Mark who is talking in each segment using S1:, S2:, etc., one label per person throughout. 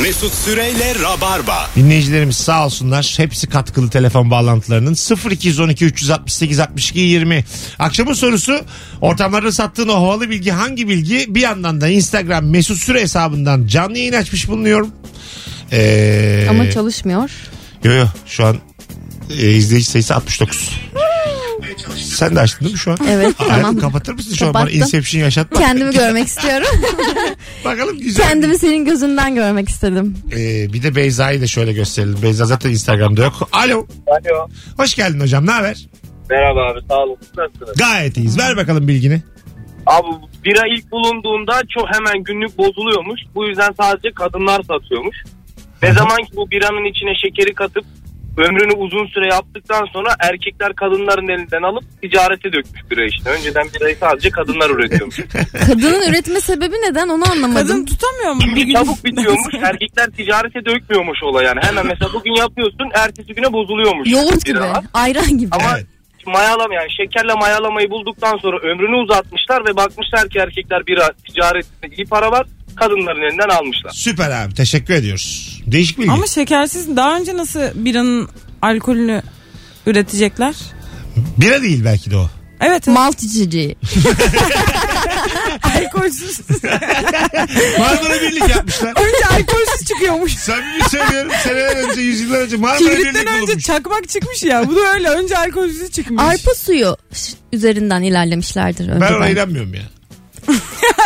S1: Mesut Süreyle Rabarba.
S2: Dinleyicilerimiz sağ olsunlar. Hepsi katkılı telefon bağlantılarının 0212 368 62 20. Akşamın sorusu ortamlarda sattığın o havalı bilgi hangi bilgi? Bir yandan da Instagram mesut süre hesabından canlı yayın açmış bulunuyorum. Ee,
S3: Ama çalışmıyor.
S2: yo yo şu an e, izleyici sayısı 69. Sen de açtın değil mi şu an?
S3: Evet
S2: Hayatım
S3: tamam.
S2: kapatır mısın şu an bana
S3: Kapattım.
S2: Inception yaşatma.
S3: Kendimi görmek istiyorum.
S2: Bakalım güzel.
S3: Kendimi senin gözünden görmek istedim.
S2: Ee, bir de Beyza'yı da şöyle gösterelim. Beyza zaten Instagram'da yok. Alo.
S4: Alo.
S2: Hoş geldin hocam. Ne haber?
S4: Merhaba abi sağ olun. Nasılsınız?
S2: Gayet iyiyiz. Ver bakalım bilgini.
S4: Abi bira ilk bulunduğunda çok hemen günlük bozuluyormuş. Bu yüzden sadece kadınlar satıyormuş. Ne zaman ki bu biranın içine şekeri katıp ömrünü uzun süre yaptıktan sonra erkekler kadınların elinden alıp ticarete dökmüş bira işte. Önceden birayı sadece kadınlar üretiyormuş.
S3: Kadının üretme sebebi neden onu
S5: Kadın
S3: anlamadım.
S5: tutamıyor mu?
S4: Bir çabuk bitiyormuş. Erkekler ticarete dökmüyormuş olay yani. Hemen mesela bugün yapıyorsun ertesi güne bozuluyormuş.
S3: Yoğurt gibi,
S4: biralar.
S3: ayran gibi.
S4: Ama
S2: Evet.
S4: mayalam yani şekerle mayalamayı bulduktan sonra ömrünü uzatmışlar ve bakmışlar ki erkekler bira ticaretinde iyi para var. Kadınların elinden almışlar.
S2: Süper abi. Teşekkür ediyoruz. Değişik bilgi.
S5: Ama şekersiz daha önce nasıl biranın alkolünü üretecekler?
S2: Bira değil belki de o.
S5: Evet. evet.
S3: Malt içeceği.
S5: alkolsüz.
S2: Marmara Birlik yapmışlar.
S5: önce alkolsüz çıkıyormuş.
S2: Samimi söylüyorum. Seneler önce, yüzyıllar önce Marmara Birlik
S5: Kibritten önce
S2: bulunmuş.
S5: çakmak çıkmış ya. Bu da öyle. Önce alkolsüz çıkmış.
S3: Arpa suyu ş- üzerinden ilerlemişlerdir
S2: Ben ona
S3: önceden.
S2: inanmıyorum ya.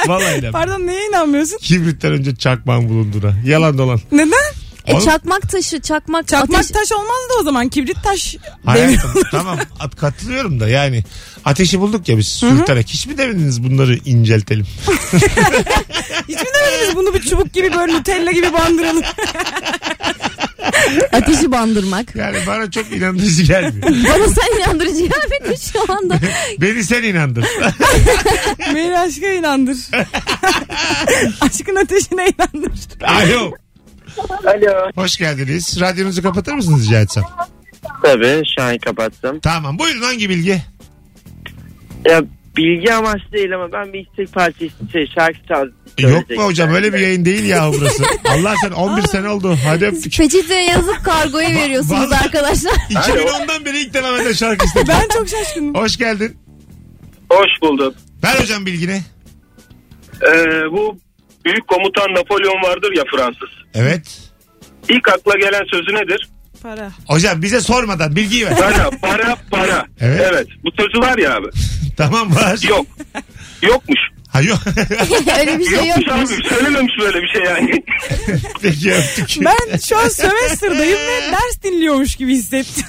S2: Vallahi inanmıyorum.
S5: Pardon neye inanmıyorsun?
S2: Kibritten önce çakmağın bulunduğuna. Yalan dolan.
S5: Neden?
S3: E,
S2: Oğlum-
S3: çakmak taşı, çakmak,
S5: Çakmak
S3: ateş...
S5: taş olmazdı o zaman. Kibrit taş demir.
S2: Hayatım tamam at, katılıyorum da yani ateşi bulduk ya biz sürterek. Hiç mi demediniz bunları inceltelim?
S5: Hiç mi demediniz bunu bir çubuk gibi böyle Nutella gibi bandıralım.
S3: ateşi bandırmak.
S2: Yani bana çok inandırıcı gelmiyor.
S3: Bana sen inandırıcı gelmedin şu anda.
S2: Beni sen inandır.
S5: Beni aşka inandır. Aşkın ateşine inandır.
S2: Alo.
S6: Alo.
S2: Hoş geldiniz. Radyonuzu kapatır mısınız rica etsem?
S6: Tabii şu an kapattım.
S2: Tamam. Buyurun hangi bilgi?
S6: Ya bilgi amaçlı değil ama ben bir istek parçası şey, şarkı çaldım.
S2: Yok mu hocam öyle bir yayın değil ya burası. Allah sen 11 sene oldu. Hadi öptük.
S3: Peçeteye yazıp kargoya veriyorsunuz
S2: vallahi-
S3: arkadaşlar.
S2: 2010'dan beri ilk devam eden şarkı istedim.
S5: Ben çok şaşkınım.
S2: Hoş geldin.
S4: Hoş bulduk. Ee,
S2: Ver hocam bilgini.
S4: bu büyük komutan Napolyon vardır ya Fransız.
S2: Evet.
S4: İlk akla gelen sözü nedir?
S5: Para.
S2: Hocam bize sormadan bilgiyi ver.
S4: Para, para, para.
S2: Evet.
S4: Bu sözü var ya abi.
S2: tamam var.
S4: Yok. Yokmuş.
S2: Ha yok.
S3: Öyle bir şey yokmuş.
S4: Söylememiş böyle bir şey yani.
S2: Peki öptük.
S5: Ben şu an sömestrdayım ve ders dinliyormuş gibi hissettim.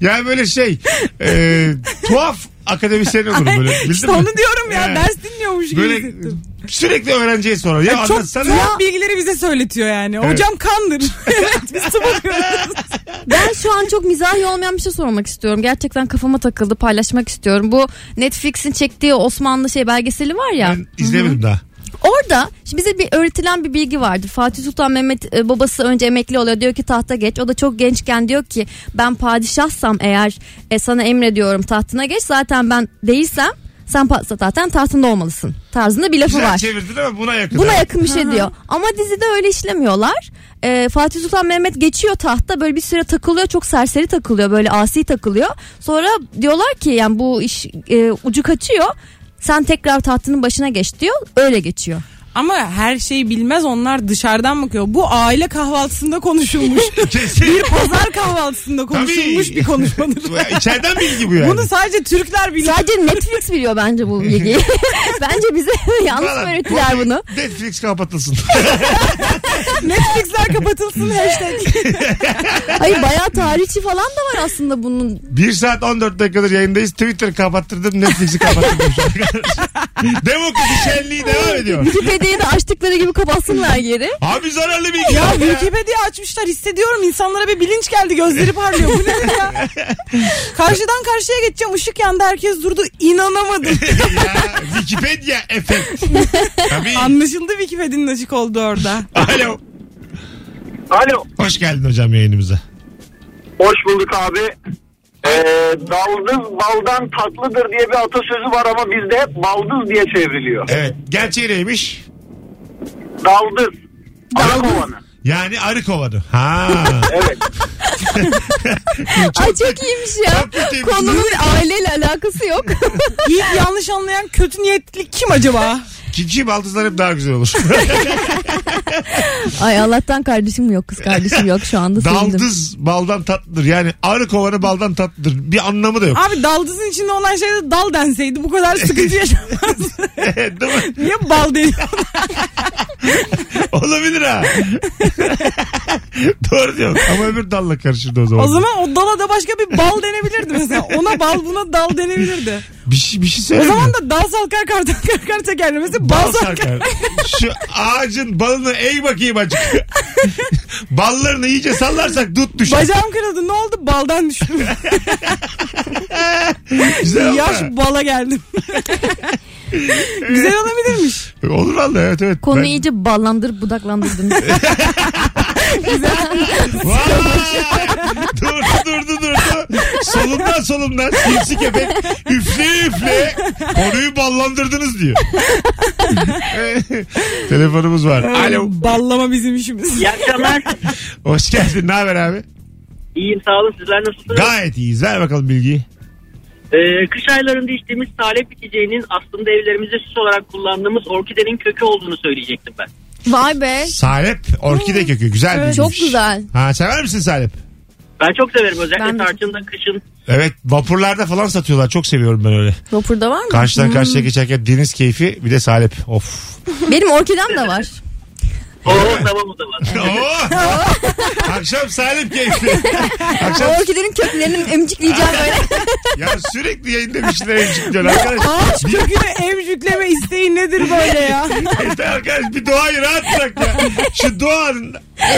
S2: Yani böyle şey e, tuhaf akademisyen olurum böyle. Bildin
S5: işte
S2: mi?
S5: onu diyorum ya
S2: He.
S5: ders dinliyormuş gibi
S2: Böyle
S5: hissettim.
S2: sürekli öğrenciye sorar. Ya
S5: Çok
S2: anlatsana.
S5: tuhaf bilgileri bize söyletiyor yani.
S2: Evet.
S5: Hocam kandır. evet biz tıp okuyoruz.
S3: Ben şu an çok mizahi olmayan bir şey sormak istiyorum. Gerçekten kafama takıldı paylaşmak istiyorum. Bu Netflix'in çektiği Osmanlı şey belgeseli var ya.
S2: Ben izlemedim daha.
S3: Orada şimdi bize bir öğretilen bir bilgi vardır. Fatih Sultan Mehmet e, babası önce emekli oluyor. Diyor ki tahta geç. O da çok gençken diyor ki ben padişahsam eğer e, sana emrediyorum tahtına geç. Zaten ben değilsem sen pa- zaten tahtında olmalısın. Tarzında bir lafı
S2: Güzel
S3: var.
S2: çevirdin ama buna yakın.
S3: Buna
S2: ha.
S3: yakın bir şey diyor. Ama dizide öyle işlemiyorlar. Ee, Fatih Sultan Mehmet geçiyor tahta böyle bir süre takılıyor çok serseri takılıyor böyle asi takılıyor. Sonra diyorlar ki yani bu iş e, ucu kaçıyor. Sen tekrar tahtının başına geç diyor. Öyle geçiyor.
S5: Ama her şeyi bilmez onlar dışarıdan bakıyor. Bu aile kahvaltısında konuşulmuş.
S2: Kesin.
S5: bir pazar kahvaltısında konuşulmuş
S2: Tabii.
S5: bir konuşmadır.
S2: Bu- İçeriden bilgi bu yani.
S5: Bunu sadece Türkler biliyor.
S3: Sadece Netflix biliyor bence bu bilgiyi. bence bize yanlış mı
S2: Valla,
S3: öğrettiler
S2: bu-
S3: bunu?
S2: Netflix kapatılsın.
S5: Netflix'ler kapatılsın hashtag.
S3: Hayır bayağı tarihçi falan da var aslında bunun.
S2: 1 saat 14 dakikadır yayındayız. Twitter kapattırdım. Netflix'i kapattırdım. şu ana kadar. Demokrasi şenliği devam ediyor.
S3: Wikipedia'yı da açtıkları gibi kapatsınlar geri.
S2: Abi zararlı bilgi.
S5: Ya
S2: yok
S5: Wikipedia açmışlar hissediyorum insanlara bir bilinç geldi gözleri parlıyor. Bu nedir ya? Karşıdan karşıya geçeceğim ışık yandı herkes durdu inanamadım.
S2: ya. Wikipedia efekt. Tabii.
S5: Anlaşıldı Wikipedia'nın açık oldu orada.
S2: Alo.
S4: Alo.
S2: Hoş geldin hocam yayınımıza.
S4: Hoş bulduk abi. Ee, baldız baldan tatlıdır diye bir atasözü var ama bizde hep baldız diye çevriliyor.
S2: Evet. Gerçeği neymiş?
S4: Daldız. Ara kovanı.
S2: Yani arı kovanı. Ha.
S4: Evet.
S3: Ay çok iyiymiş ya.
S2: Çok kötüymüş.
S3: Konunun aileyle alakası yok.
S5: Yiğit yanlış anlayan kötü niyetli kim acaba?
S2: Kiki baldızlar hep daha güzel olur.
S3: Ay Allah'tan kardeşim yok kız kardeşim yok şu anda sevindim.
S2: Daldız baldan tatlıdır. Yani arı kovanı baldan tatlıdır. Bir anlamı da yok.
S5: Abi daldızın içinde olan şeyde dal denseydi bu kadar sıkıntı yaşamaz.
S2: Değil mi?
S5: Niye bal deniyor?
S2: Olabilir ha. Doğru diyorsun. Ama öbür dalla karışırdı o zaman.
S5: O zaman o dala da başka bir bal denebilirdi mesela. Ona bal buna dal denebilirdi.
S2: bir şey bir şey
S5: O
S2: söyleyeyim. mi?
S5: zaman da dal salkar kartal karkar tekerlemesi bal
S2: Bal
S5: salkar.
S2: sarkar. Şu ağacın balını eğ bakayım acık. Ballarını iyice sallarsak dut düşer.
S5: Bacağım kırıldı ne oldu? Baldan düştüm.
S2: Güzel ama.
S5: Yaş bala geldim. Güzel olabilirmiş.
S2: Olur valla evet evet.
S3: Konuyu
S2: Ben-
S3: iyice ballandırıp budaklandırdın.
S2: Vay! durdu durdu durdu. Solumdan solumdan sinsi köpek üfle üfle konuyu ballandırdınız diyor. Telefonumuz var. Alo.
S5: Ballama bizim işimiz.
S7: İyi akşamlar.
S2: Hoş geldin. Ne haber abi?
S7: İyiyim sağ olun sizler nasılsınız?
S2: Gayet iyiyiz. Ver bakalım bilgiyi.
S7: Ee, kış aylarında içtiğimiz salep içeceğinin aslında evlerimizde süs olarak kullandığımız orkidenin kökü olduğunu söyleyecektim ben.
S3: Vay be.
S2: Salep orkide kökü. Güzel bir
S3: Çok güzel.
S2: Ha sever misin salep?
S7: Ben çok severim özellikle
S3: Ben de çok-
S7: tarçında kışın.
S2: Evet vapurlarda falan satıyorlar. Çok seviyorum ben öyle.
S3: Vapurda var mı?
S2: Karşıdan
S3: Hmm.
S2: karşıya geçerken deniz keyfi bir de salep. Of.
S3: Benim orkidem de var.
S7: Oo tamam o zaman.
S2: Oo! Akşam salep keyfi.
S3: O
S2: Akşam
S3: orkidenin köklerini emcikleyeceğim böyle.
S2: Ya sürekli yayında bir şeyler emcikliyorsun arkadaş.
S5: Ağaç kökünü emcükleme isteği nedir böyle ya?
S2: Yeter arkadaş bir doğayı rahat bırak ya. Şu doğanın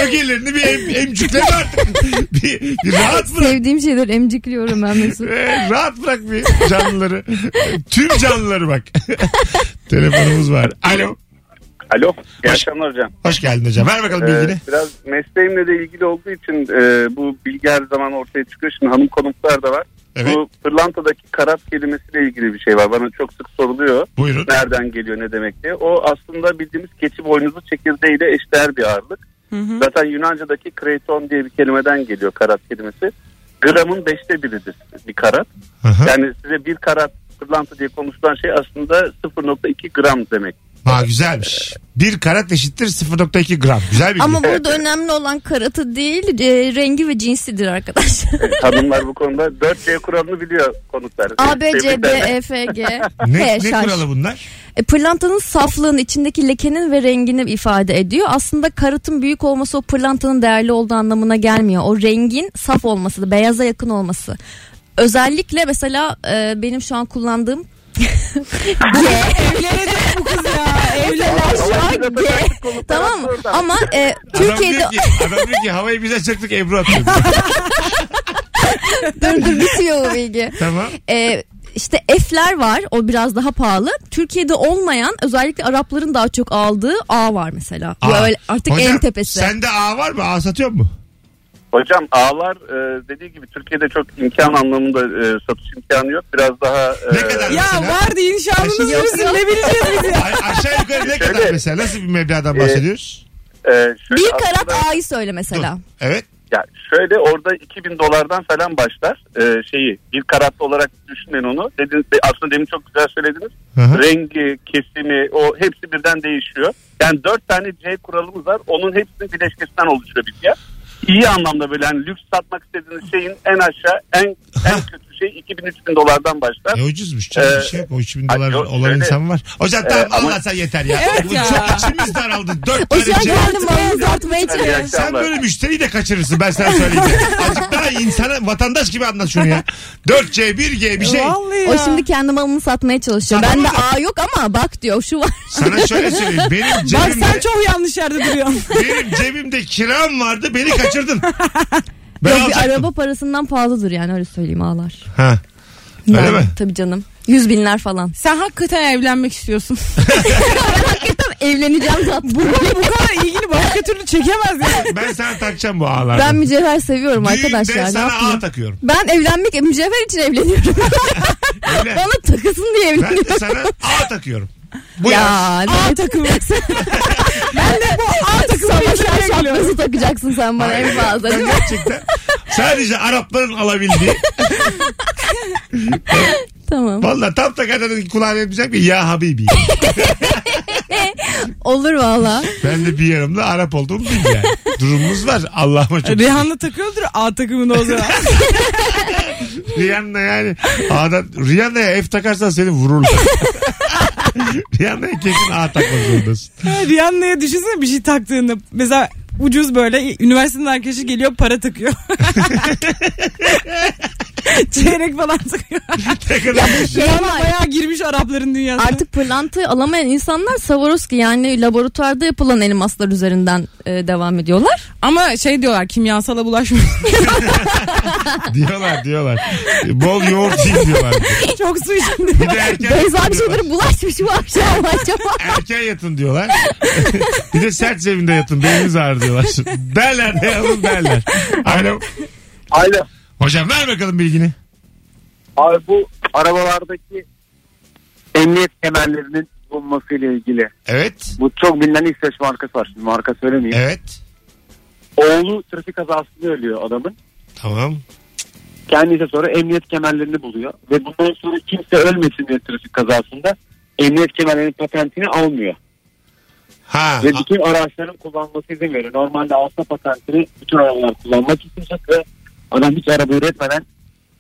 S2: ögelerini bir em, emcikleme artık. Bir, bir rahat bırak.
S3: Sevdiğim şeyler emcikliyorum ben Mesut.
S2: Ee, rahat bırak bir canlıları. Tüm canlıları bak. Telefonumuz var. Alo.
S8: Alo. İyi
S2: Hoş-
S8: akşamlar hocam.
S2: Hoş geldin hocam. Ver bakalım
S8: Ee,
S2: bilgini.
S8: biraz mesleğimle de ilgili olduğu için e, bu bilgi her zaman ortaya çıkıyor. Şimdi hanım konuklar da var.
S2: Evet.
S8: Bu pırlantadaki karat kelimesiyle ilgili bir şey var. Bana çok sık soruluyor.
S2: Buyurun.
S8: Nereden geliyor ne demek diye. O aslında bildiğimiz keçi boynuzu çekirdeğiyle eşdeğer bir ağırlık. Zaten Yunanca'daki kreton diye bir kelimeden geliyor karat kelimesi. Gramın beşte biridir bir karat.
S2: Aha.
S8: Yani size bir karat pırlanta diye konuşulan şey aslında 0.2 gram demek.
S2: Ha güzelmiş. Bir karat eşittir 0.2 gram. Güzel bilgi.
S3: Ama burada önemli olan karatı değil e, rengi ve cinsidir arkadaşlar.
S8: Hanımlar bu konuda 4C kuralını biliyor konuklar.
S3: A, B, C,
S8: Tebrikler.
S3: D, E, F, G,
S2: Ne,
S3: H,
S2: ne
S3: Ş.
S2: kuralı bunlar?
S3: E, pırlantanın saflığın içindeki lekenin ve rengini ifade ediyor. Aslında karıtın büyük olması o pırlantanın değerli olduğu anlamına gelmiyor. O rengin saf olması, da, beyaza yakın olması. Özellikle mesela e, benim şu an kullandığım
S5: Evlenecek bu kız ya. Evlen.
S8: Allah
S3: Ay, G.
S8: bize takar konuklar
S3: tamam mı?
S8: oradan.
S3: Ama e, Türkiye'de
S2: Adam diyor ki, adam diyor ki havayı bize çaktık Ebru atıyor.
S3: dur dur bitiyor bu bilgi.
S2: tamam.
S3: e, işte F'ler var o biraz daha pahalı. Türkiye'de olmayan özellikle Arapların daha çok aldığı A var mesela. Bu
S2: Aa.
S3: öyle artık
S2: Hocam,
S3: en tepesi.
S2: Sende A var mı? A satıyor mu?
S8: Hocam ağlar e, dediği gibi Türkiye'de çok imkan anlamında e, satış imkanı yok. Biraz daha... e,
S2: Ne kadar?
S5: Ya
S2: mesela?
S5: vardı inşallah yürüsün ne bileceğiz biz ya.
S2: A- aşağı yukarı ne
S8: Şöyle-
S2: kadar mesela? Nasıl bir meblağdan
S8: Ee,
S2: bahsediyoruz?
S8: e, şöyle
S3: Bir
S8: aslında-
S3: karat A'yı söyle
S2: Dur.
S3: mesela.
S2: Evet.
S8: Ya şöyle orada 2000 dolardan falan başlar e, şeyi. Bir karatlı olarak düşünün onu. Dediniz, de- aslında demin çok güzel söylediniz.
S2: Hı hı.
S8: Rengi, kesimi o hepsi birden değişiyor. Yani 4 tane C kuralımız var. Onun hepsinin bileşkesinden oluşuyor bir fiyat. İyi anlamda böyle hani lüks satmak istediğiniz şeyin en aşağı en en kötü şey 2000-3000 dolardan başlar.
S2: E ucuzmuş canım
S8: Ee,
S2: bir şey yok. O 3000
S8: ay,
S2: dolar
S8: yok,
S2: olan
S8: öyle.
S2: insan var. Hocam
S8: Ee,
S2: tamam
S8: ama-
S2: anlatsan yeter ya.
S5: Evet
S2: Bu
S5: ya.
S2: Çok içimiz daraldı. Dört tane
S3: Ocağa
S2: şey.
S3: geldim malınızı atmaya
S8: Hadi iyi
S3: çalışıyorum.
S2: Sen
S8: akşamlar.
S2: böyle müşteriyi de kaçırırsın ben sana söyleyeyim. Azıcık daha insana vatandaş gibi anlat şunu ya. 4C 1G bir şey.
S5: Vallahi ya.
S3: O şimdi kendi malını satmaya çalışıyor.
S2: Tamam
S3: Bende
S2: da-
S3: A yok ama bak diyor şu var.
S2: Sana şöyle söyleyeyim. Benim
S5: Bak
S3: şey
S5: sen
S2: cebimde,
S5: çok yanlış yerde duruyorsun.
S2: benim cebimde kiram vardı beni kaçırdın. Ben
S3: Yok, bir
S2: alacaktım.
S3: araba parasından fazladır yani öyle söyleyeyim ağlar.
S2: Ha. Öyle
S3: Yani,
S2: mi?
S3: Tabii canım. Yüz binler falan.
S5: Sen hakikaten evlenmek istiyorsun.
S3: Evleneceğim zaten.
S5: Bu konu bu kadar ilgini başka türlü çekemez yani.
S2: Ben sana takacağım bu ağlardan.
S3: ben mücevher seviyorum
S2: Düğünde
S3: arkadaşlar. Ne
S2: sana ağ
S3: yapayım?
S2: takıyorum.
S3: Ben evlenmek mücevher için evleniyorum.
S2: Öyle.
S3: Bana takılsın diye
S2: Ben
S3: evleniyorum.
S2: de sana ağ takıyorum. Bu yaz.
S3: Ya ne
S5: A takımı. ben de bu A takımı
S3: Savaş
S5: evlenmek
S3: Erşan Arabası takacaksın sen bana en fazla.
S2: Gerçekten. Sadece Arapların alabildiği.
S3: tamam.
S2: Valla tam takardan kulağına yapacak bir ya Habibi.
S3: Olur valla.
S2: Ben de bir yanımda Arap olduğumu bil yani. Durumumuz var. Allah'ıma çok.
S5: Rihanna takıyordur A takımında o zaman.
S2: Rihanna yani. A'dan, Rihanna'ya F takarsan seni vururlar. Rihanna'ya kesin A takmak zorundasın.
S5: Rihanna'ya düşünsene bir şey taktığında. Mesela ucuz böyle üniversitenin arkadaşı geliyor para takıyor. Çeyrek falan takıyor.
S2: Ne kadar
S3: Şey
S5: Rihanna
S3: var.
S5: bayağı girmiş Arapların dünyasına.
S3: Artık pırlantayı alamayan insanlar Swarovski yani laboratuvarda yapılan elmaslar üzerinden e, devam ediyorlar.
S5: Ama şey diyorlar kimyasala bulaşmıyor.
S2: diyorlar diyorlar. Bol yoğurt yiyin diyorlar.
S5: Çok su içinde.
S2: Bir de erken
S3: Beyza
S2: yatın
S3: bir şey
S2: diyorlar.
S3: şeylere bulaşmış bu akşam acaba.
S2: Erken yatın diyorlar. bir de sert zeminde yatın. Beyniniz ağrır diyorlar. Derler de yavrum derler. Alo.
S8: Aynen.
S2: Hocam ver bakalım bilgini.
S8: Abi bu arabalardaki emniyet kemerlerinin bulunmasıyla ilgili.
S2: Evet.
S8: Bu çok bilinen İsveç markası var. Şimdi marka söylemeyeyim.
S2: Evet.
S8: Oğlu trafik kazasında ölüyor adamın.
S2: Tamam.
S8: Kendisi sonra emniyet kemerlerini buluyor. Ve bundan sonra kimse ölmesin diye trafik kazasında emniyet kemerlerinin patentini almıyor.
S2: Ha.
S8: Ve bütün araçların kullanması izin veriyor. Normalde alsa patentini bütün arabalar kullanmak isteyecek ve adam hiç araba üretmeden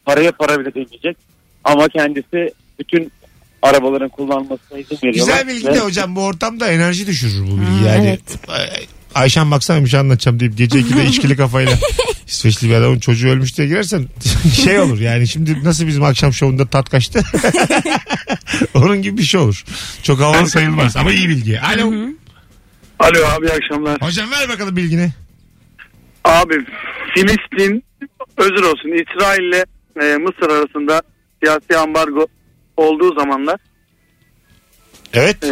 S8: paraya para bile demeyecek. Ama kendisi bütün arabaların kullanmasına izin veriyor.
S2: Güzel bilgi de hocam bu ortamda enerji düşürür bu bilgi
S3: Ha,
S2: yani.
S3: evet.
S2: Ay- Ayşen baksana bir şey anlatacağım deyip gece 2'de içkili kafayla İsveçli bir adamın çocuğu ölmüş diye girersen şey olur yani şimdi nasıl bizim akşam şovunda tat kaçtı onun gibi bir şey olur. Çok havalı sayılmaz ama iyi bilgi. Alo
S8: Alo abi iyi akşamlar.
S2: hocam ver bakalım bilgini.
S8: Abi Filistin özür olsun İsrail ile e, Mısır arasında siyasi ambargo olduğu zamanlar
S2: Evet
S8: e,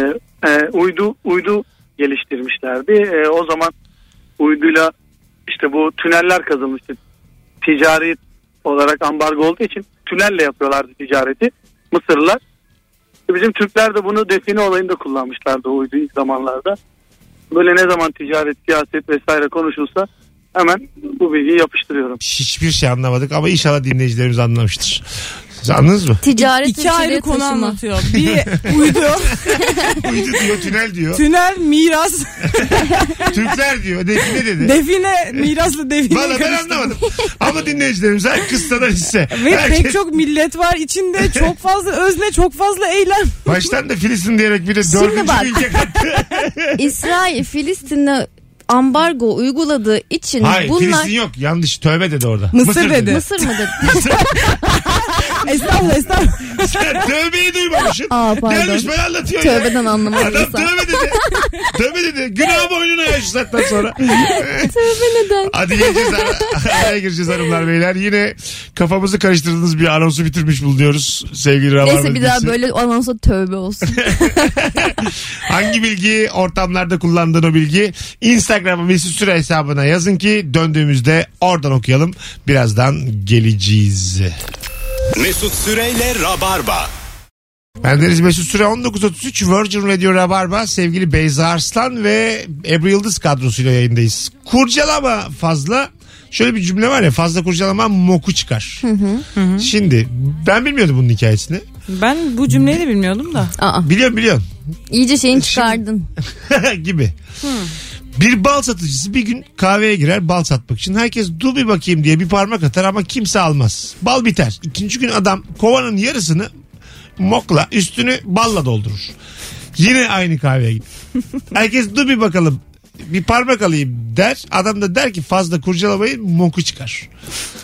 S8: e, uydu uydu geliştirmişlerdi. E, o zaman uyduyla işte bu tüneller kazılmıştı. Ticari olarak ambargo olduğu için tünelle yapıyorlardı ticareti Mısırlılar. E, Bizim Türkler de bunu define olayında kullanmışlardı o uydu ilk zamanlarda. Böyle ne zaman ticaret, siyaset vesaire konuşulsa hemen bu bilgiyi yapıştırıyorum.
S2: hiçbir şey anlamadık ama inşallah dinleyicilerimiz anlamıştır. Siz anladınız mı?
S3: Ticaret
S5: İki ayrı konu
S3: taşıma.
S5: anlatıyor. Bir uydu,
S2: Uydu diyor tünel diyor.
S5: tünel, miras,
S2: Türkler diyor. Define dedi.
S5: define, mirasla define
S2: Valla ben
S5: karıştı.
S2: anlamadım. Ama dinleyicilerimiz her kıssadan hisse.
S5: Ve
S2: Herkes-
S5: pek çok millet var içinde. Çok fazla özne, çok fazla eylem.
S2: Baştan da Filistin diyerek bir de
S3: Şimdi
S2: dördüncü
S3: bak.
S2: ülke kattı.
S3: İsrail Filistin'e ambargo uyguladığı için
S2: Hayır
S3: bunlar...
S2: Filistin yok yanlış tövbe dedi orada.
S5: Mısır dedi.
S3: Mısır mı dedi?
S5: Estağfurullah, estağfurullah.
S2: Sen tövbeyi duymamışsın.
S3: Aa, pardon.
S2: Gelmiş bana anlatıyor ya.
S3: Tövbeden anlamadım.
S2: Adam tövbe dedi. tövbe dedi. Günah boynuna yaş zaten sonra.
S3: Tövbe neden?
S2: Hadi geleceğiz ara- araya gireceğiz hanımlar beyler. Yine kafamızı karıştırdığınız bir anonsu bitirmiş bulunuyoruz. Sevgili Rabarba
S3: Neyse bir daha
S2: dinleyicisi.
S3: böyle anonsa tövbe olsun.
S2: Hangi bilgi ortamlarda kullandığın o bilgi Instagram'a Mesut Süre hesabına yazın ki döndüğümüzde oradan okuyalım. Birazdan geleceğiz.
S1: Mesut Süreyle Rabarba.
S2: Bendeniz Mesut Süre 19.33 Virgin Radio Rabarba sevgili Beyza Arslan ve Ebru Yıldız kadrosuyla yayındayız. Kurcalama fazla şöyle bir cümle var ya fazla kurcalama moku çıkar. Şimdi ben bilmiyordum bunun hikayesini.
S5: Ben bu cümleyi de bilmiyordum da.
S3: Aa,
S2: Biliyorum biliyorum.
S3: iyice şeyini çıkardın.
S2: gibi. Bir bal satıcısı bir gün kahveye girer bal satmak için. Herkes dur bir bakayım diye bir parmak atar ama kimse almaz. Bal biter. İkinci gün adam kovanın yarısını mokla üstünü balla doldurur. Yine aynı kahveye gider. Herkes dur bir bakalım bir parmak alayım der. Adam da der ki fazla kurcalamayın moku çıkar.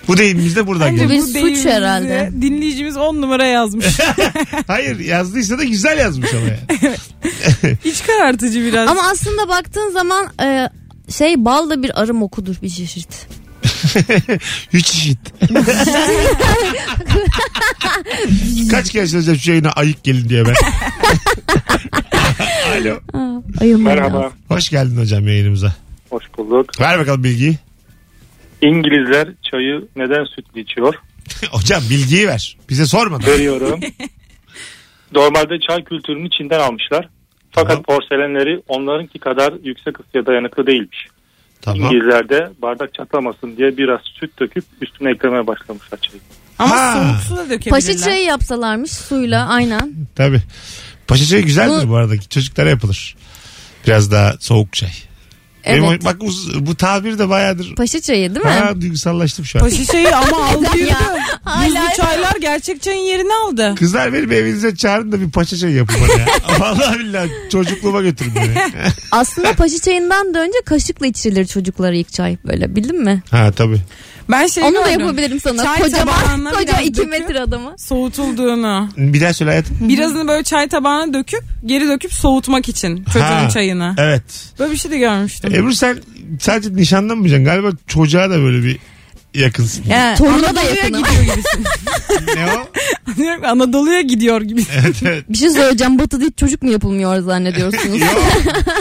S2: Bu deyimimiz de buradan
S5: Bence
S2: geliyor.
S3: bir
S5: bu
S3: suç
S5: deyimimizi
S3: herhalde.
S5: Dinleyicimiz 10 numara yazmış.
S2: Hayır yazdıysa da güzel yazmış ama yani.
S5: İç karartıcı biraz.
S3: Ama aslında baktığın zaman e, şey bal da bir arı mokudur bir çeşit.
S2: Üç şişit. Kaç kere söyleyeceğim şu yayına ayık gelin diye ben. Alo.
S3: Ayılmayın
S9: Merhaba.
S3: lazım.
S2: Hoş geldin hocam yayınımıza.
S9: Hoş bulduk.
S2: Ver bakalım bilgiyi.
S9: İngilizler çayı neden sütlü içiyor?
S2: hocam bilgiyi ver. Bize sormadan.
S9: Veriyorum. Normalde çay kültürünü Çin'den almışlar. Fakat
S2: Tamam.
S9: porselenleri onlarınki kadar yüksek ısıya dayanıklı değilmiş.
S2: Tamam.
S9: İngilizler de bardak çatlamasın diye biraz süt döküp üstüne eklemeye başlamışlar çayı.
S5: Ama
S2: Ha.
S5: soğuk su da dökebilirler.
S3: Paşa çayı yapsalarmış suyla aynen.
S2: Tabii. Paşa çayı güzeldir
S3: Bu-
S2: bu arada. Çocuklara yapılır. Biraz daha soğuk çay. Benim
S3: Evet.
S2: o- bak uz- bu tabir de bayağıdır.
S3: Paşa çayı değil mi?
S2: Ha, duygusallaştım şu an.
S5: Paşa çayı ama aldı yürüdü.
S3: Hala-
S5: Buzlu çaylar gerçek çayın yerini aldı.
S2: Kızlar benim evinize çağırın da bir paşa çayı yapın bana ya. Vallahi billahi çocukluğuma götürün beni.
S3: Aslında paşa çayından da önce kaşıkla içilir çocuklara ilk çay böyle bildin mi?
S2: ha tabii.
S5: Ben şey
S3: Onu da
S5: gördüm.
S3: yapabilirim sana.
S5: Çay
S3: kocaman,
S5: tabağına
S3: koca
S5: biraz
S3: 2
S5: döküp-
S3: metre adamı.
S5: Soğutulduğunu.
S2: Bir daha söyle hayatım.
S5: Birazını böyle çay tabağına döküp geri döküp soğutmak için çocuğun
S2: Ha,
S5: çayını.
S2: Evet.
S5: Böyle bir şey de görmüştüm.
S2: Ebru sen sadece nişanlanmayacaksın. Galiba çocuğa da böyle bir yakınsın.
S5: Yani
S3: Toruna da
S5: Anadolu'ya
S3: yakınım.
S5: gidiyor gibisin.
S2: ne o?
S5: Diyorum ki, Anadolu'ya gidiyor gibisin.
S2: Evet evet.
S3: Bir şey söyleyeceğim. Batı'da hiç çocuk mu yapılmıyor zannediyorsunuz?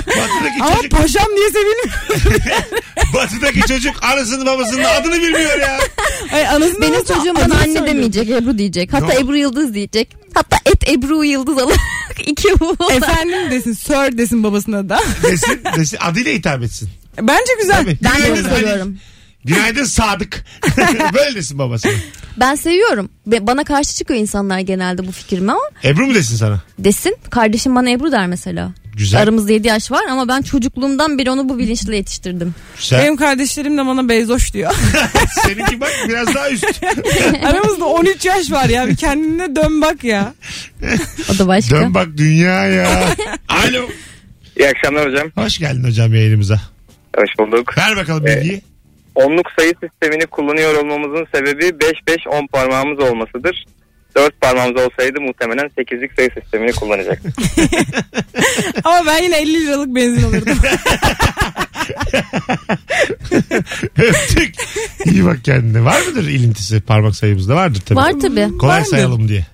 S2: Batıdaki
S5: Ama
S2: çocuk,
S5: paşam niye sevilmiyor?
S2: batıdaki çocuk anasının babasının adını bilmiyor ya.
S5: Ay, anasını
S3: Benim
S5: babasını
S3: çocuğum
S5: adını
S3: bana anne
S5: söylüyor.
S3: demeyecek. Ebru diyecek. Hatta
S2: Yok.
S3: Ebru Yıldız diyecek. Hatta et Ebru Yıldız alarak iki bu.
S5: Efendim desin, sir desin babasına da.
S2: Desin, desin adıyla hitap etsin.
S5: Bence güzel.
S2: Tabii.
S3: Ben çok
S2: Günaydın Ali.
S3: seviyorum.
S2: Günaydın Sadık. böyle desin babasına.
S3: Ben seviyorum. Ve Bana karşı çıkıyor insanlar genelde bu fikrime ama
S2: Ebru mu desin sana?
S3: desin. Kardeşim bana Ebru der mesela.
S2: Güzel.
S3: Aramızda 7 yaş var ama ben çocukluğumdan beri onu bu bilinçle yetiştirdim.
S2: Güzel.
S5: Benim kardeşlerim de bana Beyzoş diyor.
S2: Seninki bak biraz daha üst.
S5: Aramızda 13 yaş var ya. Bir kendine dön bak ya.
S3: O da başka.
S2: Dön bak dünya ya. Alo.
S4: İyi akşamlar hocam.
S2: Hoş geldin hocam yayınımıza.
S4: Hoş bulduk.
S2: Ver bakalım
S4: Evet.
S2: bilgiyi.
S4: Onluk sayı sistemini kullanıyor olmamızın sebebi 5-5-10 parmağımız olmasıdır. 4 parmağımız olsaydı muhtemelen 8'lik sayı sistemini kullanacaktık.
S5: Ama ben yine 50 liralık benzin alırdım.
S2: Öptük. İyi bak kendine. Var mıdır ilintisi parmak sayımızda? Vardır tabii.
S3: Var tabii.
S2: Kolay
S5: Var mı?
S2: sayalım diye.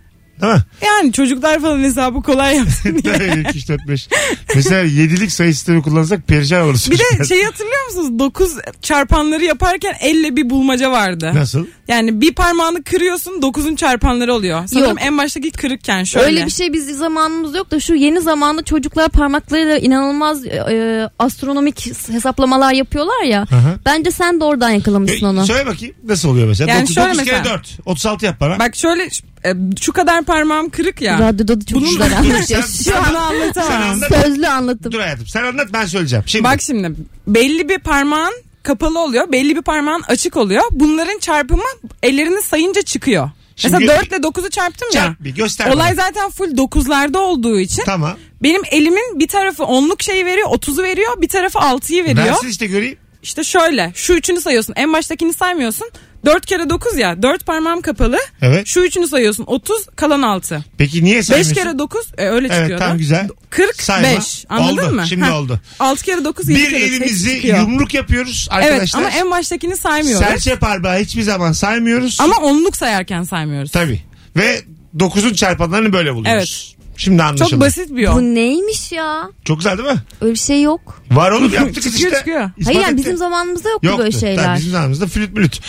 S2: Değil mi?
S5: Yani çocuklar falan hesabı kolay yapsın diye.
S2: Tabii, iki, üç, dört, beş. Mesela yedilik sayı sistemi kullansak perişan oluruz.
S5: Bir de şey- şeyi hatırlıyor musunuz? 9 çarpanları yaparken elle bir bulmaca vardı.
S2: Nasıl?
S5: Yani bir parmağını kırıyorsun 9'un çarpanları oluyor. Sanırım
S3: Yok.
S5: en baştaki kırıkken şöyle.
S3: Öyle bir şey biz zamanımız yok da şu yeni zamanda çocuklar parmaklarıyla inanılmaz e, e, astronomik hesaplamalar yapıyorlar ya.
S2: hı.
S3: Bence sen de oradan yakalamışsın
S5: E,
S3: onu.
S2: Söyle bakayım nasıl oluyor mesela?
S5: Yani
S2: 9,
S5: şöyle
S2: kere
S5: mesela.
S2: 4. 36 yap bana.
S5: Bak şöyle ş- e, şu kadar parmağım kırık ya.
S3: Radyoda da çok
S5: Bunun-
S3: güzel anlatıyor.
S5: Şu an anlatamam.
S2: Sen-
S3: Sözlü anlattım.
S2: Dur hayatım sen anlat ben söyleyeceğim. Şimdi
S5: Bak şimdi belli bir parmağın kapalı oluyor. Belli bir parmağın açık oluyor. Bunların çarpımı ellerini sayınca çıkıyor.
S2: Şimdi-
S5: Mesela 4 ile 9'u çarptım ya.
S2: Çarp bir, göster
S5: Olay
S2: bana.
S5: zaten full 9'larda olduğu için
S2: tamam.
S5: benim elimin bir tarafı onluk şeyi veriyor 30'u veriyor bir tarafı 6'yı veriyor.
S2: Versin işte göreyim.
S5: İşte şöyle şu üçünü sayıyorsun en baştakini saymıyorsun. 4 kere 9 ya 4 parmağım kapalı.
S2: Evet.
S5: Şu üçünü sayıyorsun 30 kalan 6.
S2: Peki niye
S5: 5
S2: saymıyorsun?
S5: kere 9 e, öyle çıkıyor.
S2: Evet tam güzel.
S5: 45
S2: Sayma.
S5: anladın
S2: Oldu,
S5: mı?
S2: şimdi oldu.
S5: 6 kere 9 7
S2: Bir
S5: kere 8
S2: elimizi
S5: çıkıyor.
S2: yumruk yapıyoruz arkadaşlar.
S5: Evet ama en baştakini saymıyoruz.
S2: Serçe parmağı hiçbir zaman saymıyoruz.
S5: Ama onluk sayarken saymıyoruz.
S2: Tabii. Ve 9'un çarpanlarını böyle buluyoruz. Şimdi
S5: Çok
S2: anlaşıldı.
S5: basit bir
S3: Bu
S5: yol.
S3: neymiş ya?
S2: Çok güzel değil mi?
S3: Öyle bir şey yok.
S2: Var oğlum yaptık
S5: Çıkıyor,
S2: işte.
S5: çıkıyor.
S2: İspat
S3: Hayır yani
S2: etti.
S3: bizim zamanımızda yoktu,
S2: Yoktu.
S3: böyle
S2: Tabii
S3: şeyler.
S2: bizim zamanımızda flüt mülüt.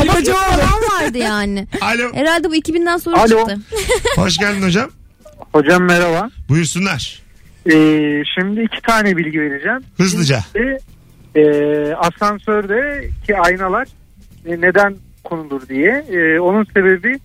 S3: Ama falan vardı yani.
S2: Alo.
S3: Herhalde bu 2000'den sonra
S9: Alo.
S3: çıktı.
S2: Hoş geldin hocam.
S9: Hocam merhaba.
S2: Buyursunlar.
S9: Ee, şimdi iki tane bilgi vereceğim.
S2: Hızlıca.
S9: Birincisi, e, asansörde ki aynalar e, neden konulur diye. E, onun sebebi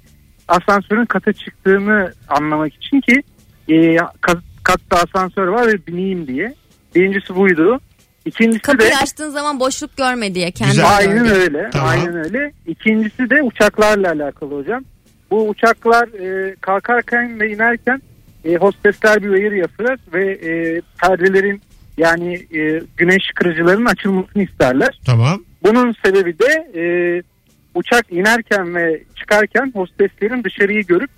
S9: asansörün kata çıktığını anlamak için ki e, kat- katta asansör var ve bineyim diye. Birincisi buydu. İkincisi de
S3: Kapıyı açtığın zaman boşluk görme diye kendi
S2: Güzel.
S3: gördü.
S9: aynen öyle.
S2: Tamam.
S9: Aynen öyle. İkincisi de uçaklarla alakalı hocam. Bu uçaklar e, kalkarken ve inerken e, hostesler bir uyarı yapılır ve e, perdelerin yani e, güneş kırıcılarının açılmasını isterler.
S2: Tamam.
S9: Bunun sebebi de e, uçak inerken ve çıkarken hosteslerin dışarıyı görüp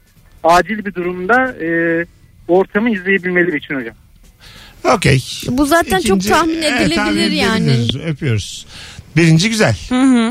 S9: acil bir durumda e, ortamı izleyebilmeleri için hocam.
S2: Okey.
S3: Bu zaten
S2: İkinci-
S3: çok tahmin
S2: Evet,
S3: edilebilir
S2: tahmin
S3: yani.
S2: edilebilir. Öpüyoruz. Birinci güzel.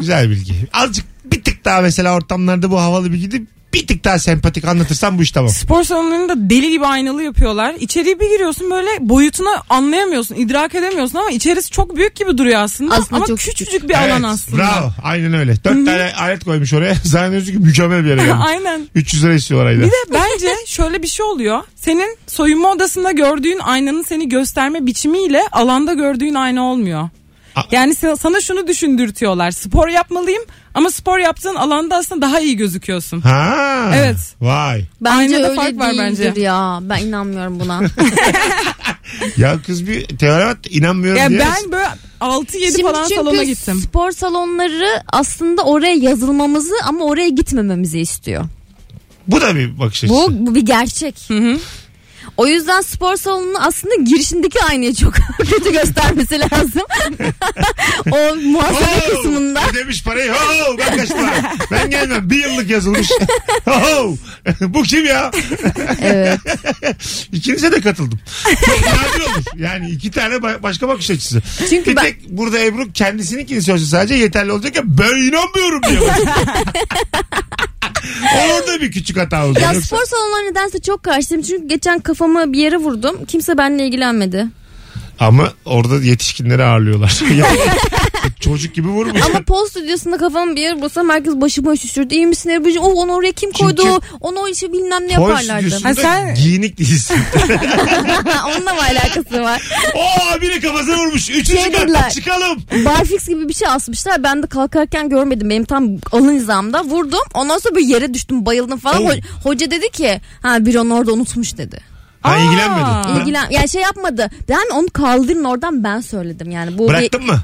S2: Güzel bilgi. Azıcık bir tık daha mesela ortamlarda bu havalı bilgi de bir tık daha sempatik anlatırsan bu iş tamam.
S5: Spor salonlarında deli gibi aynalı yapıyorlar. İçeriye bir giriyorsun böyle boyutunu anlayamıyorsun, idrak edemiyorsun ama içerisi çok büyük gibi duruyor aslında.
S3: Aslında
S5: ama
S3: çok
S5: küçücük
S3: küçük.
S5: bir alan
S2: Evet,
S5: aslında.
S2: Bravo. Aynen öyle. Dört tane alet koymuş oraya. Zannediyorsun ki mükemmel bir yere gelmiş.
S5: Aynen.
S2: 300 lira istiyorlar ayda.
S5: Bir de bence şöyle bir şey oluyor. Senin soyunma odasında gördüğün aynanın seni gösterme biçimiyle alanda gördüğün ayna olmuyor.
S2: A-
S5: Yani se- sana şunu düşündürtüyorlar. Spor yapmalıyım ama spor yaptığın alanda aslında daha iyi gözüküyorsun.
S2: Ha.
S5: Evet.
S2: Vay.
S3: Bence
S5: Aynada
S3: öyle
S5: fark var
S3: değildir
S5: bence.
S3: ya. Ben inanmıyorum buna.
S2: Ya kız bir teorem at inanmıyorum
S5: Ya
S2: diye.
S5: ben böyle 6-7 falan
S3: çünkü
S5: salona gittim.
S3: spor salonları aslında oraya yazılmamızı ama oraya gitmememizi istiyor.
S2: Bu da bir bakış açısı.
S3: Bu, bu bir gerçek. O yüzden spor salonunun aslında girişindeki aynayı çok kötü göstermesi lazım. o muhasebe
S2: Oo,
S3: kısmında.
S2: Ödemiş parayı. Oo, ben kaçtım. ben gelmem. Bir yıllık yazılmış. Oo, bu kim ya?
S3: Evet.
S2: İkinize de katıldım. Çok nadir olur. Yani iki tane ba- başka bakış açısı.
S3: Çünkü
S2: bir
S3: ben-
S2: tek burada Ebru kendisininkini söylese sadece yeterli olacak ya ben inanmıyorum diyor. Orada bir küçük hata olacak.
S3: Ya
S2: Yoksa-
S3: spor salonlarına nedense çok karşıyım. Çünkü geçen kafamı bir yere vurdum. Kimse benimle ilgilenmedi.
S2: Ama orada yetişkinleri ağırlıyorlar. Yani Çocuk gibi vurmuş.
S3: Ama pol stüdyosunda kafamı bir yere vursam herkes başıma şişirdi. İyi misin Ebru'cum? Oh, onu oraya kim koydu?
S2: Çünkü-
S3: Onu o işi bilmem ne
S2: Boy
S3: yaparlardı.
S2: stüdyosunda
S5: Ha, sen-
S2: giyinik değilsin.
S3: Ha, Onunla mı alakası var?
S2: Oo biri kafasına vurmuş. Üçüncü
S3: Şey
S2: katta
S3: dediler.
S2: çıkalım.
S3: Barfix gibi bir şey asmışlar. Ben de kalkarken görmedim. Benim tam alın hizamda. Vurdum. Ondan sonra böyle yere düştüm bayıldım falan.
S2: Oo.
S3: Ho- hoca dedi ki ha bir onu orada unutmuş dedi.
S2: Ha
S5: Aa.
S2: ilgilenmedin.
S3: İlgilen yani şey yapmadı. Ben onu kaldırın oradan ben söyledim. Yani bu bir...
S2: Bıraktın mı?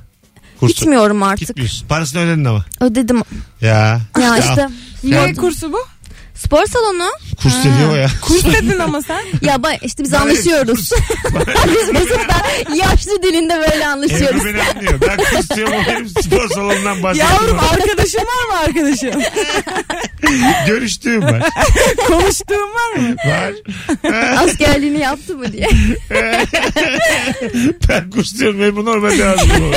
S2: Kursu.
S3: Gitmiyorum artık.
S2: Gitmiyorsun. Parasını ödedin ama.
S3: Ödedim.
S2: Ya.
S3: Ya işte
S5: Ne kursu bu?
S3: spor salonu.
S2: Kurs dediği o ya.
S5: Kurs dedin ama sen.
S3: Ya bay, işte biz
S2: Bana ne
S3: anlaşıyoruz. biz mesela yaşlı dilinde böyle anlaşıyoruz.
S2: Ebru beni anlıyor. Ben kurs diyorum o benim spor salonundan bahsediyorum.
S5: Yavrum arkadaşın var mı arkadaşın?
S2: Görüştüğüm var.
S5: Konuştuğun var mı?
S2: Var.
S3: Askerliğini yaptı mı diye.
S2: Ben kurs diyorum benim bu normal lazım olur.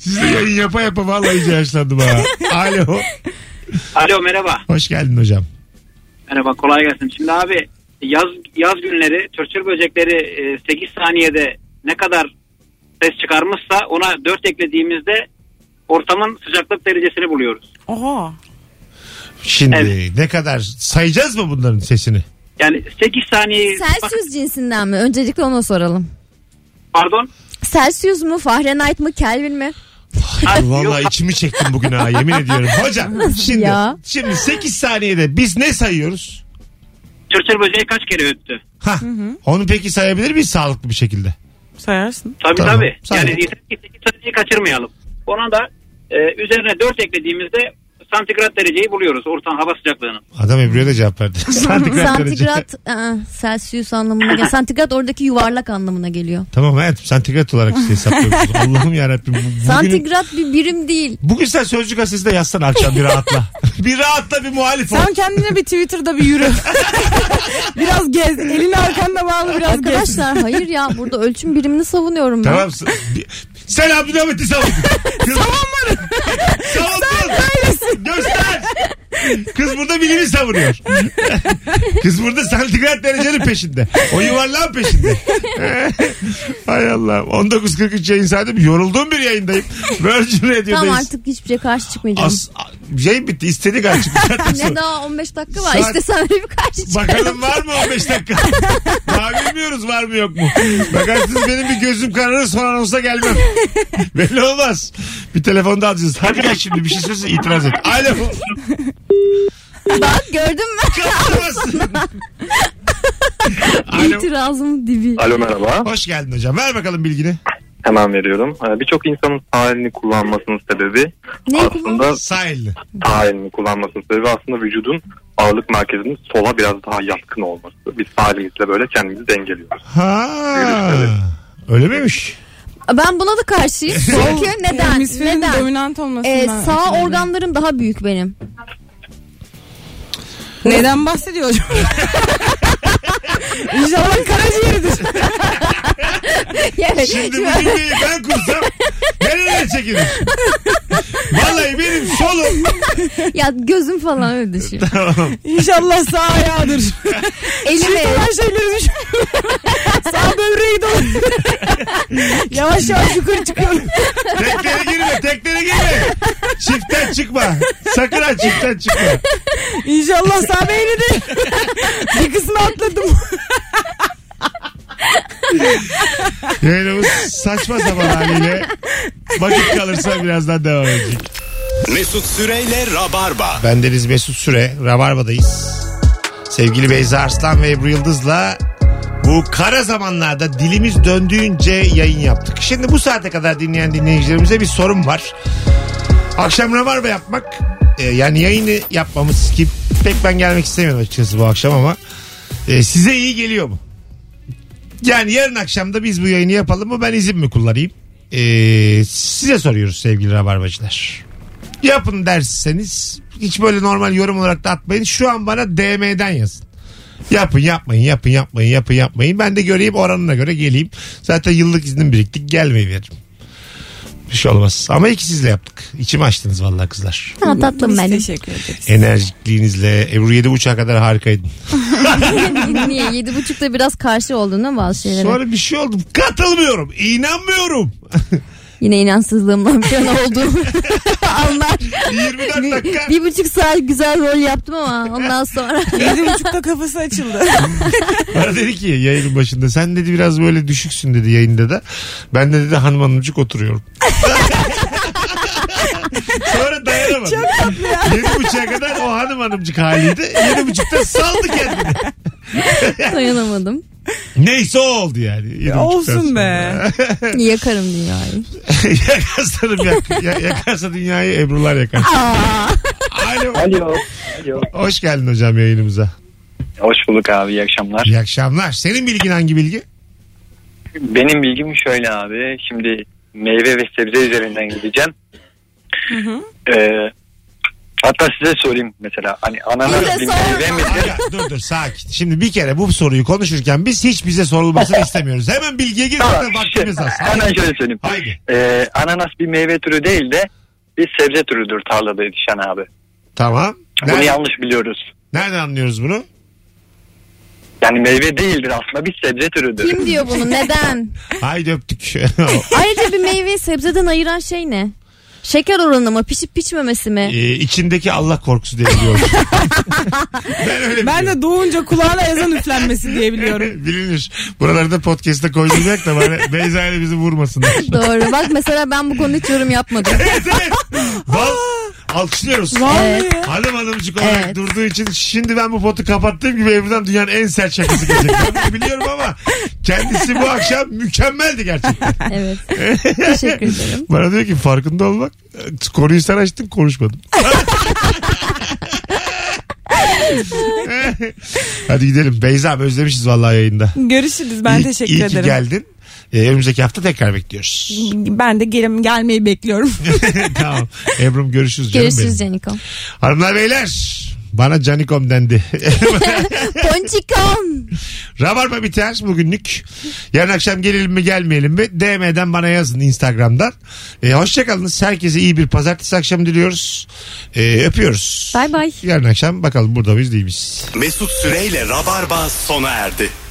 S2: Siz de yayın yapa yapa vallahi iyice yaşlandım ha. Alo.
S7: Alo merhaba.
S2: Hoş geldin hocam.
S7: Merhaba kolay gelsin. Şimdi abi yaz yaz günleri çırçır böcekleri e, 8 saniyede ne kadar ses çıkarmışsa ona 4 eklediğimizde ortamın sıcaklık derecesini buluyoruz.
S5: Oha.
S2: Şimdi
S7: Evet.
S2: ne kadar sayacağız mı bunların sesini?
S7: Yani 8 saniye bak,
S3: Celsius cinsinden mi? Öncelikle ona soralım.
S7: pardon
S3: Celsius mu? Fahrenheit mi? Kelvin mi?
S2: Vallahi içimi çektim bugün ha yemin ediyorum. Hocam şimdi,
S3: ya?
S2: şimdi 8 saniyede biz ne sayıyoruz?
S7: çırçır böceği kaç kere öttü?
S2: Ha, onu peki sayabilir miyiz sağlıklı bir şekilde?
S5: Sayarsın.
S7: Tabii
S2: Tamam,
S7: tabii.
S2: sayın.
S7: Yani yeter ki 8 saniyeyi kaçırmayalım. Ona da e, üzerine 4 eklediğimizde santigrat dereceyi buluyoruz ortam hava sıcaklığının.
S2: Adam Ebru'ya da cevap verdi. Santigrat. derece.
S3: Santigrat, aa, Celsius anlamına geliyor. Santigrat oradaki yuvarlak anlamına geliyor.
S2: Tamam hayatım santigrat olarak işte hesaplıyoruz. Allah'ım yarabbim. bu- Bugün,
S3: Santigrat bir birim değil.
S2: Bugün sen sözcük gazetesinde yazsan akşam bir rahatla. bir rahatla bir muhalif ol.
S5: Sen kendine bir Twitter'da bir yürü. biraz gez. Elini arkanda bağlı biraz gez.
S3: Arkadaşlar hayır ya burada ölçüm birimini savunuyorum ben.
S2: Tamam. s- bir- Sen Abdülhamit'i savundun. Savunmadın. Savundun. Göster. Kız burada bilimi savunuyor. Kız burada santigrat derecenin peşinde. O yuvarlağın peşinde. Hay Allah. 19.43 yayın saatim. Yorulduğum bir yayındayım. Virgin Radio'dayız.
S3: Tamam artık hiçbir şeye karşı çıkmayacağım.
S2: As, a- yayın bitti. İstedik artık.
S3: ne daha 15 dakika var.
S2: Saat-
S3: İşte sen öyle bir karşı çıkarım.
S2: Bakalım var mı 15 dakika? Daha bilmiyoruz var mı yok mu? Bakarsınız benim bir gözüm kararır son anonsa gelmem. Belli olmaz. Bir telefonda alacağız. Hadi gel şimdi bir şey söylesen itiraz et. Alo.
S3: Bak gördün mü?
S2: Kapatamazsın. Alo.
S3: İtirazım dibi.
S8: Alo merhaba.
S2: Hoş geldin hocam. Ver bakalım bilgini.
S8: Hemen veriyorum. Ee, Birçok insanın tarihini kullanmasının sebebi
S3: Neyi
S8: aslında
S2: Sahilli.
S8: tarihini kullanmasının sebebi aslında vücudun ağırlık merkezinin sola biraz daha yatkın olması. Biz sahilimizle böyle kendimizi dengeliyoruz.
S2: Ha. Öyle miymiş?
S3: Ben buna da karşıyım. Çünkü neden?
S5: Hemisferin
S3: Neden?
S5: dominant olmasından.
S3: Ee, sağ organlarım daha büyük benim.
S5: Neden bahsediyor hocam? İnşallah karaciğeridir.
S3: Evet.
S2: Şimdi bu cümleyi ben kursam nerelere çekilir? Vallahi benim solum.
S3: ya gözüm falan öyle düşüyor.
S5: İnşallah sağ ayağıdır.
S3: Elim
S5: Çift olan şeyleri düşün. sağ böbreği dolanıyor. yavaş yavaş yukarı çıkıyorum.
S2: Teklere girme, teklere girme. Çiftten çıkma. Sakın ha çiftten çıkma.
S5: İnşallah sağ beyni de. Bir kısmı atladım.
S2: Yayınımız saçma sapan haliyle vakit kalırsa birazdan devam edecek.
S1: Mesut Süreyle Rabarba.
S2: Bendeniz Mesut Süre. Rabarba'dayız. Sevgili Beyza Arslan ve Ebru Yıldız'la bu kara zamanlarda dilimiz döndüğünce yayın yaptık. Şimdi bu saate kadar dinleyen dinleyicilerimize bir sorum var. Akşam Rabarba yapmak e, yani yayını yapmamız ki pek ben gelmek istemiyorum açıkçası bu akşam ama e, size iyi geliyor mu? Yani yarın akşam da biz bu yayını yapalım mı ben izin mi kullanayım? E, size soruyoruz sevgili Rabarbacılar yapın derseniz hiç böyle normal yorum olarak da atmayın. Şu an bana DM'den yazın. Yapın yapmayın yapın yapmayın yapın yapmayın. Ben de göreyim oranına göre geleyim. Zaten yıllık iznim biriktik gelmeyi veririm. Bir şey olmaz. Ama ikisizle yaptık. İçimi açtınız vallahi kızlar.
S3: Ha, tatlım
S5: Biz
S3: benim.
S5: Teşekkür ederiz.
S2: Enerjikliğinizle Ebru 7.30'a kadar harikaydın.
S3: Niye? Yedi buçukta biraz karşı oldun ama bazı şeylere.
S2: Sonra bir şey oldu. Katılmıyorum. İnanmıyorum.
S3: Yine inansızlığımdan bir an oldu. Anlar.
S2: 24 dakika.
S3: Bir, bir buçuk saat güzel rol yaptım ama ondan sonra.
S5: Yedi buçukta kafası açıldı.
S2: Bana dedi ki yayının başında sen dedi biraz böyle düşüksün dedi yayında da. Ben de dedi hanım hanımcık oturuyorum. Sonra dayanamadı. Çok tatlı ya. Yedi buçuğa kadar o hanım hanımcık haliydi. Yedi buçukta saldı kendini.
S3: Dayanamadım.
S2: Neyse o oldu yani. Yedi buçuktan
S5: Olsun
S2: sonra.
S5: be.
S3: Yakarım dünyayı.
S2: Yakarsanım yak, ya- yakarsa dünyayı Ebru'lar yakar.
S3: Aa,
S2: Alo.
S6: Alo.
S2: Hoş geldin hocam yayınımıza.
S7: Hoş bulduk abi iyi akşamlar.
S2: İyi akşamlar. Senin bilgin hangi bilgi?
S7: Benim bilgim şöyle abi. Şimdi meyve ve sebze üzerinden gideceğim. Ee, hatta size sorayım mesela. Hani ananas
S3: Bir de
S7: bir
S3: sorma.
S7: meyve midir?
S2: Ya, dur dur sakin. Şimdi bir kere bu soruyu konuşurken biz hiç bize sorulmasını istemiyoruz. Hemen bilgiye gir zaten
S7: Tamam,
S2: vaktimiz
S7: şey-
S2: az.
S7: Hemen şöyle söyleyeyim.
S2: Haydi.
S7: Ee, ananas bir meyve türü değil de bir sebze türüdür tarlada yetişen abi.
S2: Tamam.
S7: Bunu
S2: Nereden,
S7: yanlış biliyoruz.
S2: nereden anlıyoruz bunu?
S7: Yani meyve değildir aslında bir sebze türüdür.
S3: kim diyor bunu? Neden?
S2: Haydi öptük.
S3: Ayrıca bir meyveyi sebzeden ayıran şey ne? Şeker oranı mı? Pişip pişmemesi mi?
S2: ee, içindeki Allah korkusu diye biliyorum. ben öyle
S5: Ben
S2: biliyorum.
S5: de doğunca kulağına ezan üflenmesi diye biliyorum.
S2: Bilinir. Buralarda podcast'ta koyulacak da bana Beyza ile bizi vurmasınlar.
S3: Doğru. Bak mesela ben bu konuda hiç yorum yapmadım.
S2: evet evet. Bal, alkışlıyoruz.
S5: Vallahi.
S2: Hanım hanımcık olarak
S3: Evet.
S2: durduğu için şimdi ben bu potu kapattığım gibi Ebru'dan dünyanın en sert şakası gelecek. Ben bunu biliyorum ama kendisi bu akşam mükemmeldi gerçekten.
S3: Evet. Teşekkür ederim.
S2: Bana diyor ki farkında ol bak. Konuyu sen açtın konuşmadım. Hadi gidelim. Beyza özlemişiz vallahi yayında.
S5: Görüşürüz. Ben
S2: İyi-
S5: teşekkür
S2: iyi
S5: ederim.
S2: ki geldin. Ee, önümüzdeki hafta tekrar bekliyoruz.
S5: Ben de gelim gelmeyi bekliyorum.
S2: tamam. Ebru'm görüşürüz canım
S3: Görüşürüz
S2: benim.
S3: Caniko.
S2: Hanımlar beyler. Bana Canikom dendi.
S3: Ponçikom.
S2: Rabarba biter bugünlük. Yarın akşam gelelim mi gelmeyelim mi? DM'den bana yazın Instagram'dan. Ee, Hoşçakalınız. Herkese iyi bir pazartesi akşamı diliyoruz. Ee, öpüyoruz.
S3: Bay bay.
S2: Yarın akşam bakalım burada mıyız değil miyiz?
S1: Mesut Süreyle Rabarba sona erdi.